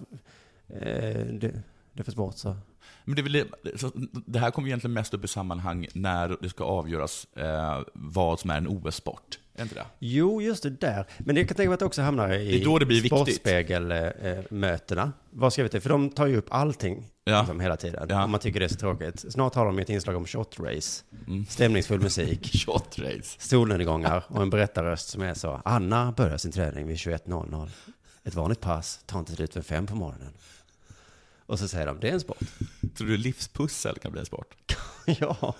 A: eh, det, det för sport så?
B: Men det, är väl det, så det här kommer ju egentligen mest upp i sammanhang när det ska avgöras eh, vad som är en OS-sport. Är det inte det?
A: Jo, just det där. Men jag kan tänka mig att det också hamnar i
B: Det är då det blir viktigt.
A: Sportspegelmötena. Vad ska vi till? För de tar ju upp allting
B: Ja.
A: liksom, hela tiden.
B: Ja.
A: Om man tycker det är så tråkigt. Snart har de ett inslag om shotrace,
B: Mm.
A: stämningsfull musik,
B: Shot race.
A: solnedgångar och en berättarröst som är så. Anna börjar sin träning vid 21.00. Ett vanligt pass tar inte slut för fem på morgonen. Och så säger de, det är en sport.
B: Tror du livspussel kan bli en sport?
A: ja.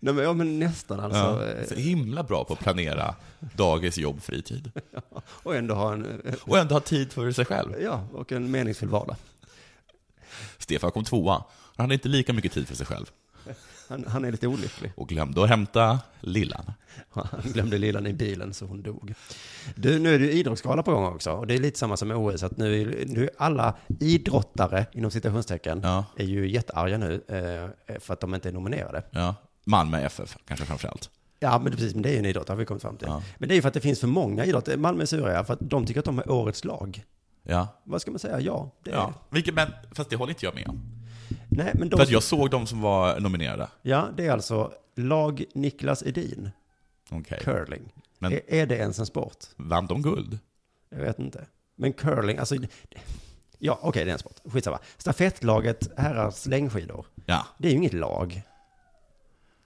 A: Nej, men, ja, men nästan alltså.
B: Ja. Så himla bra på att planera dagis, jobb, fritid.
A: Och ändå ha en,
B: Och ändå ha tid för sig själv.
A: ja, och en meningsfull vardag.
B: Stefan kom tvåa. Han hade inte lika mycket tid för sig själv.
A: Han, han är lite olycklig.
B: Och glömde att hämta lillan.
A: Han glömde lillan i bilen så hon dog. Du, nu är det ju idrottsgala på gång också. Och det är lite samma som med OS. Att nu, är- nu är alla idrottare, inom citationstecken,
B: Ja.
A: är ju jättearga nu eh, för att de inte är nominerade.
B: Ja. Malmö FF, kanske framförallt.
A: Ja, men precis, men det är ju en idrott, har vi kommit fram till. Men det är ju för att det finns för många idrotter. Malmö är sura, för att de tycker att de är årets lag.
B: Ja.
A: Vad ska man säga? Ja, det är...
B: ja. Vilket, men, fast det håller inte jag med om.
A: Nej, men de...
B: För att jag såg de som var nominerade.
A: Ja, det är alltså lag Niklas Edin,
B: Okej.
A: curling.
B: Men-
A: Är, är det ens en sport?
B: Vann de guld?
A: Jag vet inte. Men curling, alltså... Ja, okej, det är en sport. Skitsamma. Stafettlaget herrars längdskidor,
B: Ja.
A: det är ju inget lag.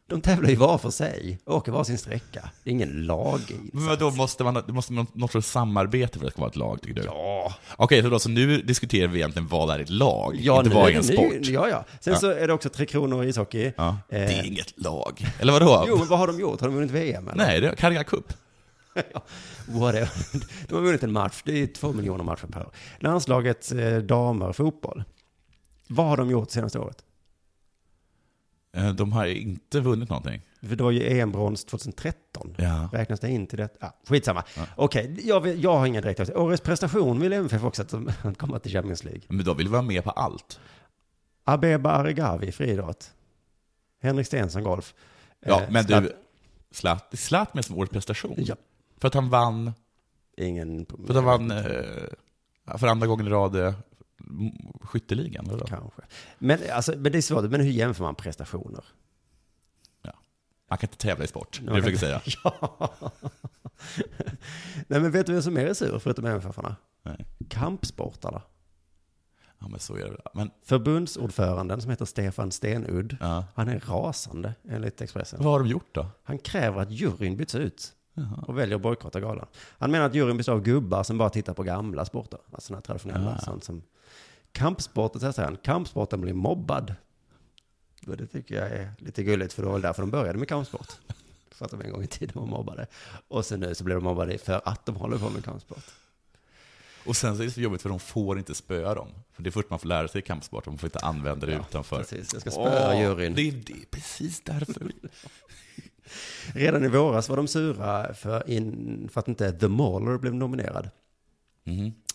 A: De tävlar ju var för sig, åker var sin sträcka. Det är ingen lag i det.
B: Men då måste man, det måste man något sorts samarbete för att det ska vara ett lag, tycker du?
A: Ja,
B: Okej, så, då, så nu diskuterar vi egentligen vad är ett lag,
A: ja
B: inte
A: nu
B: vad
A: är
B: är en
A: det-
B: sport.
A: nu- Ja, ja. Sen
B: Ja.
A: så är det också Tre Kronor i ishockey.
B: Ja. Det
A: Eh,
B: är inget lag. Eller vadå?
A: Jo, men vad har de gjort? Har de vunnit VM eller?
B: Nej, det är Carrera Cup.
A: Ja, whatever. De har vunnit en match. Det är två miljoner matcher per år. Landslaget eh, damer fotboll. Vad har de gjort senaste året?
B: Eh, De har inte vunnit någonting.
A: För det var ju EM-brons 2013.
B: Ja.
A: Räknas det in till det? Ah, skitsamma. Okej, jag, vet- jag har ingen direkt åsikt. Årets prestation vill MFF också att de att komma till Champions League.
B: Men de vill vara med på allt.
A: Abeba Aregawi, friidrott. Henrik Stenson, golf.
B: Ja,
A: Eh,
B: men
A: Zlat-
B: du, Zlat, det är Zlatan som årets prestation.
A: Ja.
B: För att han vann,
A: Ingen...
B: för att han vann eh, för andra gången i rad eh, m- skytteligan. Eller? vad?
A: Kanske. Men, alltså, men det är svårt. Men hur jämför man prestationer?
B: Man kan inte tävla i sport, det
A: Man
B: jag
A: kan
B: försöker säga.
A: Ja. Nej, men vet du vem som är sur förutom MFF-arna?
B: Nej.
A: Kampsportarna.
B: Ja, men så är det. Men
A: Förbundsordföranden som heter Stefan Stenudd,
B: Ja.
A: han är rasande enligt Expressen.
B: vad har de gjort då?
A: Han kräver att juryn byts ut och väljer att bojkotta galan. Han menar att juryn består av gubbar som bara tittar på gamla sporter, alltså sådana här traditionella.
B: Ah.
A: Sånt som kampsporten, så här säger han, kampsporten blir mobbad. Och det tycker jag är lite gulligt, för det var väl därför de började med kampsport. För att de en gång i tiden var mobbade. Och sen nu så blir de mobbade för att de håller på med kampsport.
B: Och sen så är det så jobbigt för de får inte spöa dem. För det är först man får lära sig i kampsport, de får inte använda det utanför.
A: precis. Jag ska spöa
B: Åh,
A: juryn.
B: Det är, det är precis därför.
A: Redan i våras var de sura för, in, för att inte The Mauler blev nominerad.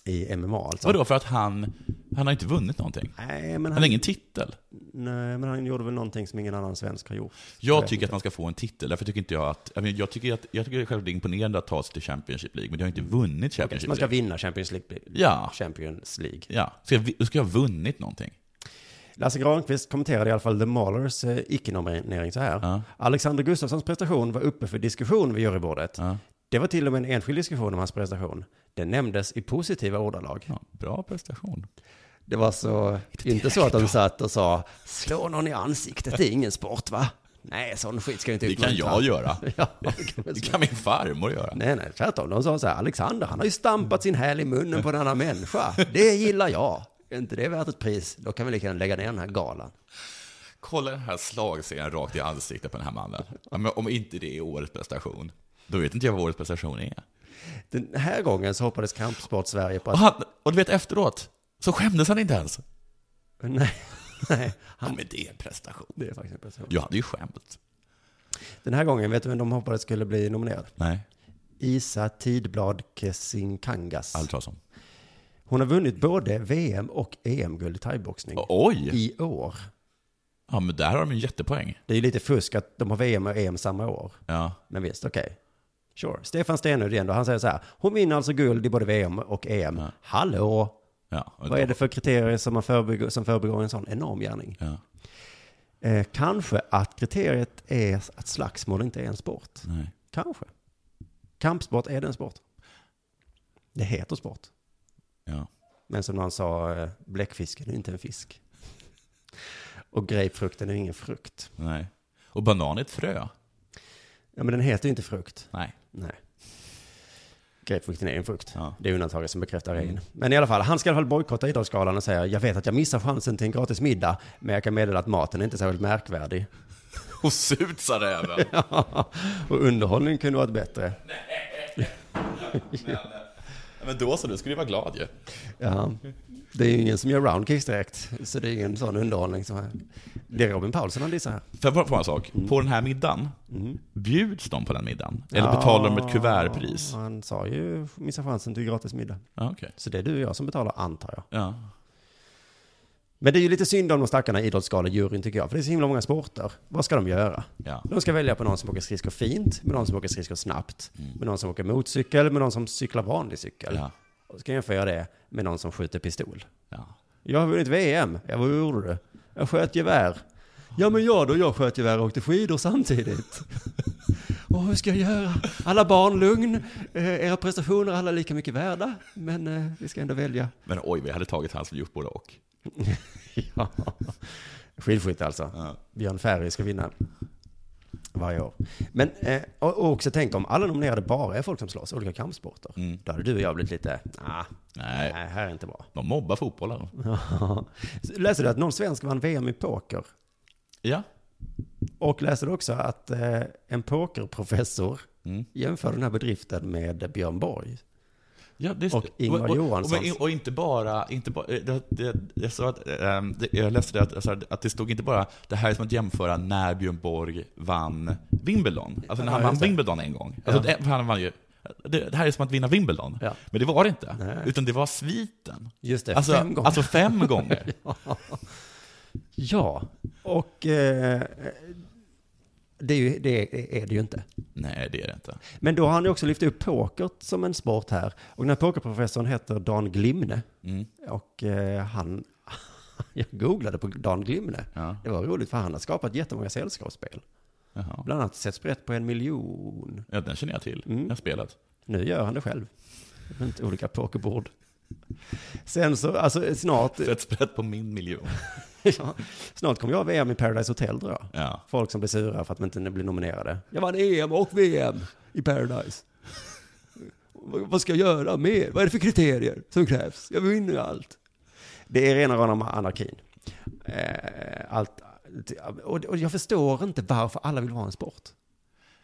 A: I MMA alltså.
B: Mhm. Vadå, för att han, han har inte vunnit någonting?
A: Nej, men
B: Han har ingen titel.
A: Nej, men han gjorde väl någonting som ingen annan svensk har gjort.
B: Jag tycker att man ska få en titel, därför tycker inte jag att... Jag, menar, jag tycker, att, jag tycker själv det är imponerande att ta sig till Championship League, men jag har inte vunnit Championship
A: Man ska
B: League.
A: vinna Champions League.
B: Ja.
A: Champions League.
B: Ja, ska jag, vi- då ska jag ha vunnit någonting.
A: Lasse Granqvist kommenterade i alla fall The Maulers eh, icke-nominering så här. Alexander Gustafssons prestation var uppe för diskussion vid jurybordet. Det var till och med en enskild diskussion om hans prestation. Den nämndes i positiva ordalag.
B: Ja, bra prestation.
A: Det var så, inte så att de satt och sa slå någon i ansiktet, det är ingen sport va? Nej, sån skit ska vi inte
B: Det kan
A: uppmuntra."
B: jag göra.
A: ja, det kan man
B: Det
A: säga.
B: kan min farmor göra.
A: Nej, nej, tvärtom. De sa så här, Alexander, han har ju stampat sin häl i munnen på en annan människa. Det gillar jag. Är inte det värt ett pris? Då kan vi lika gärna lägga ner den här galan.
B: Kolla den här slagserien rakt i ansiktet på den här mannen. Ja, men om inte det är årets prestation, då vet inte jag vad årets prestation är.
A: Den här gången så hoppades Kampsport Sverige på
B: Och,
A: att...
B: han, och du vet efteråt, så skämdes han inte ens.
A: Nej, nej,
B: Ja, men det är en prestation.
A: det är faktiskt inte så.
B: Jag hade ju skämt.
A: Den här gången, vet du vem de hoppades skulle bli nominerad?
B: Nej,
A: Isa Tidblad Kesinkangas.
B: aldrig talas om.
A: Hon har vunnit både VM och EM-guld i thaiboxning
B: Oj!
A: i år.
B: Ja, men där har de ju en jättepoäng.
A: Det är ju lite fusk att de har VM och EM samma år.
B: Ja.
A: Men visst, okej. Sure. Stefan Stenerud igen då, han säger så här. Hon vinner alltså guld i både VM och EM. Hallå!
B: ja
A: Vad är det för kriterier som, man förbegår, som förbegår en sån enorm gärning?
B: Ja.
A: Eh, kanske att kriteriet är att slagsmål inte är en sport.
B: Nej.
A: Kanske. Kampsport, är det en sport? Det heter sport.
B: Ja.
A: Men som någon sa, eh, bläckfisken är inte en fisk. Och grapefrukten är ingen frukt.
B: Nej. Och banan är ett frö.
A: Ja, men den heter ju inte frukt.
B: Nej.
A: Nej. Grapefrukten är en frukt.
B: Ja.
A: Det är undantaget som bekräftar regeln. Men i alla fall, han ska i alla fall bojkotta Idrottsgalan och säga jag vet att jag missar chansen till en gratis middag, men jag kan meddela att maten är inte särskilt märkvärdig.
B: Och surt sa räven.
A: och underhållningen kunde varit bättre.
B: eh, Men då så, du skulle ju vara glad ju.
A: Ja. Det är ju ingen som gör roundkicks direkt, så det är ingen sån underhållning som... Det är Robin Paulsson han dissar här.
B: Får jag bara fråga en sak? På den här middagen, bjuds de på den middagen? Eller betalar de ett kuvertpris?
A: Ja, Han sa ju missa chansen till gratis middag.
B: Ja, okej.
A: Så det är du och jag som betalar, antar jag.
B: Ja.
A: Men det är ju lite synd om de stackarna i idrottsgalejuryn tycker jag, för det är så himla många sporter. Vad ska de göra?
B: Ja.
A: De ska välja på någon som åker skridskor fint, med någon som åker skridskor snabbt, med någon som åker motorcykel, med någon som cyklar vanlig cykel.
B: Ja.
A: Och så kan jag jämföra det med någon som skjuter pistol.
B: ja.
A: Jag har vunnit VM. Ja, vad gjorde du? Jag sköt gevär. Ja, men jag då? Jag sköt gevär och åkte skidor samtidigt. Och hur ska jag göra? Alla barn, lugn. Eh, era prestationer är alla lika mycket värda. Men eh, vi ska ändå välja.
B: Men oj, vi hade tagit han som gjort både och.
A: Ja. Skidskytte alltså.
B: Ja.
A: Björn Ferry ska vinna varje år. Men eh, och och också tänk om alla nominerade bara är folk som slåss, olika kampsporter. Då hade du och jag blivit lite, nah,
B: Mm. Nej.
A: nej, här är inte bra.
B: De mobbar fotbollen.
A: Ja. Läser du att någon svensk vann VM i poker?
B: Ja.
A: Och läser du också att eh, en pokerprofessor
B: Mm.
A: jämför den här bedriften med Björn Borg.
B: Ja, det,
A: Och Ingvar Johanssons.
B: Och, och, och inte bara, inte bara det, det, jag, sa att, ehm, det, jag läste det att, jag sa att det stod inte bara det här är som att jämföra när Björn Borg vann Wimbledon. Alltså när han
A: Ja,
B: vann
A: just det.
B: Wimbledon en gång. Alltså, det, han vann ju, det, det här är som att vinna Wimbledon.
A: Ja.
B: Men det var det inte.
A: Nej.
B: Utan det var sviten.
A: Just det,
B: alltså,
A: fem gånger.
B: Alltså fem gånger.
A: Ja, och eh, det, är ju, det är det ju inte.
B: Nej, det är det inte.
A: Men då har han ju också lyft upp pokert som en sport här. Och den här pokerprofessorn heter Dan Glimne. Och eh, han, jag googlade på Dan Glimne.
B: Ja.
A: Det var roligt för han har skapat jättemånga sällskapsspel.
B: Jaha.
A: Bland annat Sätt sprätt på en miljon.
B: Ja, den känner jag till.
A: Mm.
B: Jag har spelat.
A: Nu gör han det själv. Runt olika pokerbord. Sen så, alltså snart,
B: Ett sprätt på min miljon.
A: ja, snart kommer jag ha VM i Paradise Hotel tror jag.
B: Ja.
A: Folk som blir sura för att de inte blir nominerade. Jag vann EM och VM i Paradise. V- Vad ska jag göra mer? Vad är det för kriterier som krävs? Jag vinner ju allt. Det är rena rama anarkin. Eh, Allt, och och jag förstår inte varför alla vill vara en sport.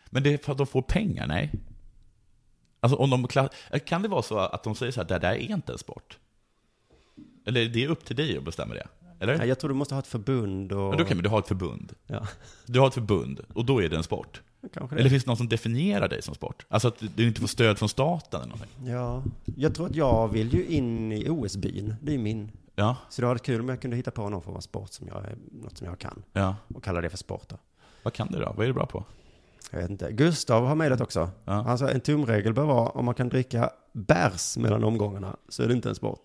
B: Men det är för att de får pengar, nej? Alltså om de kla- Kan det vara så att de säger så här, det där är inte en sport? Eller det är upp till dig att bestämma det? Eller?
A: Nej, Jag tror du måste ha ett förbund och...
B: Men då kan du ha ett förbund.
A: Ja,
B: Du har ett förbund, och då är det en sport.
A: kanske det.
B: Eller finns det någon som definierar dig som sport? Alltså att du inte får stöd från staten eller någonting?
A: Ja, jag tror att jag vill ju in i OS-byn. Det är ju min.
B: Ja,
A: Så det hade varit kul om jag kunde hitta på någon form av sport som jag, något som jag kan.
B: ja.
A: Och kalla det för sport då.
B: Vad kan du då? Vad är du bra på?
A: Jag vet inte. Gustav har mejlat också.
B: Ja.
A: Han sa en tumregel bör vara om man kan dricka bärs mellan omgångarna så är det inte en sport.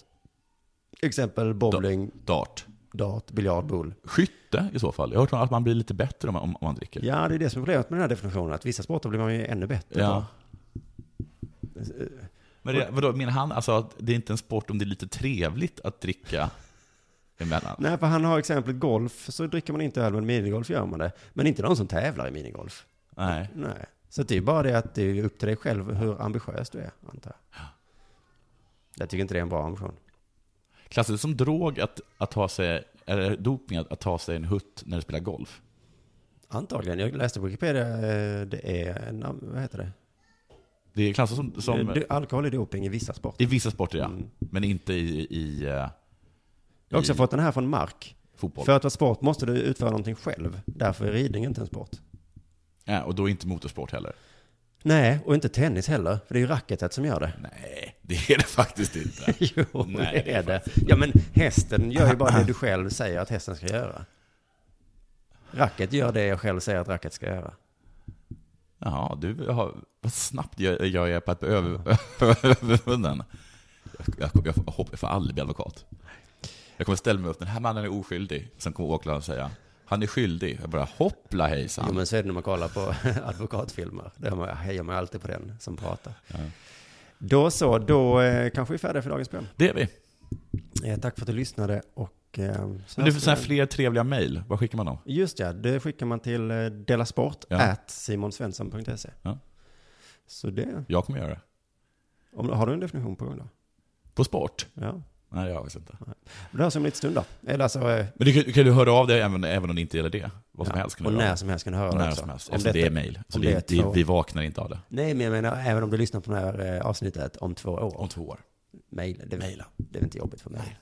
A: Exempel bowling,
B: Dart.
A: dart, biljard, boule.
B: Skytte i så fall. Jag har hört att man blir lite bättre om man, om man dricker.
A: Ja, det är det som är problemet med den här definitionen. Att vissa sporter blir man ju ännu bättre
B: Ja.
A: på.
B: Men det, vadå, menar han alltså att det är inte en sport om det är lite trevligt att dricka emellan?
A: Nej, för han har exemplet golf, så dricker man inte öl, men minigolf gör man det. Men inte någon som tävlar i minigolf.
B: Nej.
A: Nej. Så det är bara det att det är upp till dig själv hur ambitiös du är, antar jag. Jag tycker inte det är en bra ambition.
B: Klassas det som drog att, att ha sig är det doping att, att ta sig en hutt när du spelar golf?
A: Antagligen. Jag läste på Wikipedia, eh, det är, en, vad heter det?
B: Det klassas som, som
A: Eh, du- Alkohol är doping i vissa sporter.
B: i vissa sporter, ja. Men inte i, i eh,
A: Jag har också
B: i-
A: fått den här från Mark.
B: fotboll.
A: För att vara sport måste du utföra någonting själv. Därför är ridning inte en sport.
B: Ja, och då inte motorsport heller.
A: Nej, och inte tennis heller. För det är ju racketet som gör det.
B: Nej, det är det faktiskt inte.
A: Jo,
B: Nej,
A: det är det. Ja, men hästen gör ju bara det du själv säger att hästen ska göra. Racket gör det jag själv säger att racket ska göra.
B: Jaha, du har, vad snabbt jag, jag är på att bli över- övervunnen. Jag, jag, jag, hopp, jag får aldrig bli advokat. Jag kommer ställa mig upp, den här mannen är oskyldig. Sen kommer åklagaren och säga, han är skyldig. Jag bara, hoppla hejsan.
A: Jo, men så är det när man kollar på advokatfilmer. Där man- jag hejar mig alltid på den som pratar. Då så, då eh, kanske vi är färdiga för dagens program.
B: Det är vi.
A: Eh, tack för att du lyssnade och... Eh, så
B: Men
A: här
B: du får
A: ska
B: sådana
A: vi-
B: här fler trevliga mejl. Vad skickar man dem?
A: Just ja, det skickar man till eh, delasport
B: Ja.
A: at simonsvensson.se.
B: Ja.
A: Så det,
B: Jag kommer göra det.
A: om, har du en definition på gång då?
B: På sport?
A: Ja.
B: Nej, jag vet inte.
A: Det hörs om en liten stund då. Eller alltså, eh,
B: Men du kan, kan du höra av dig även, även om det inte gäller det? Vad som
A: ja,
B: helst kan
A: och
B: du
A: när
B: höra
A: som helst kan du höra
B: av dig.
A: det
B: När
A: också.
B: som helst.
A: Om
B: Eftersom det är
A: detta-
B: mejl. Så
A: om
B: vi,
A: det är
B: vi,
A: två-
B: vi vaknar inte av det.
A: Nej, men jag menar även om du lyssnar på det här eh, avsnittet om två år.
B: Om två år.
A: Mejla. Det, det är inte jobbigt för mig.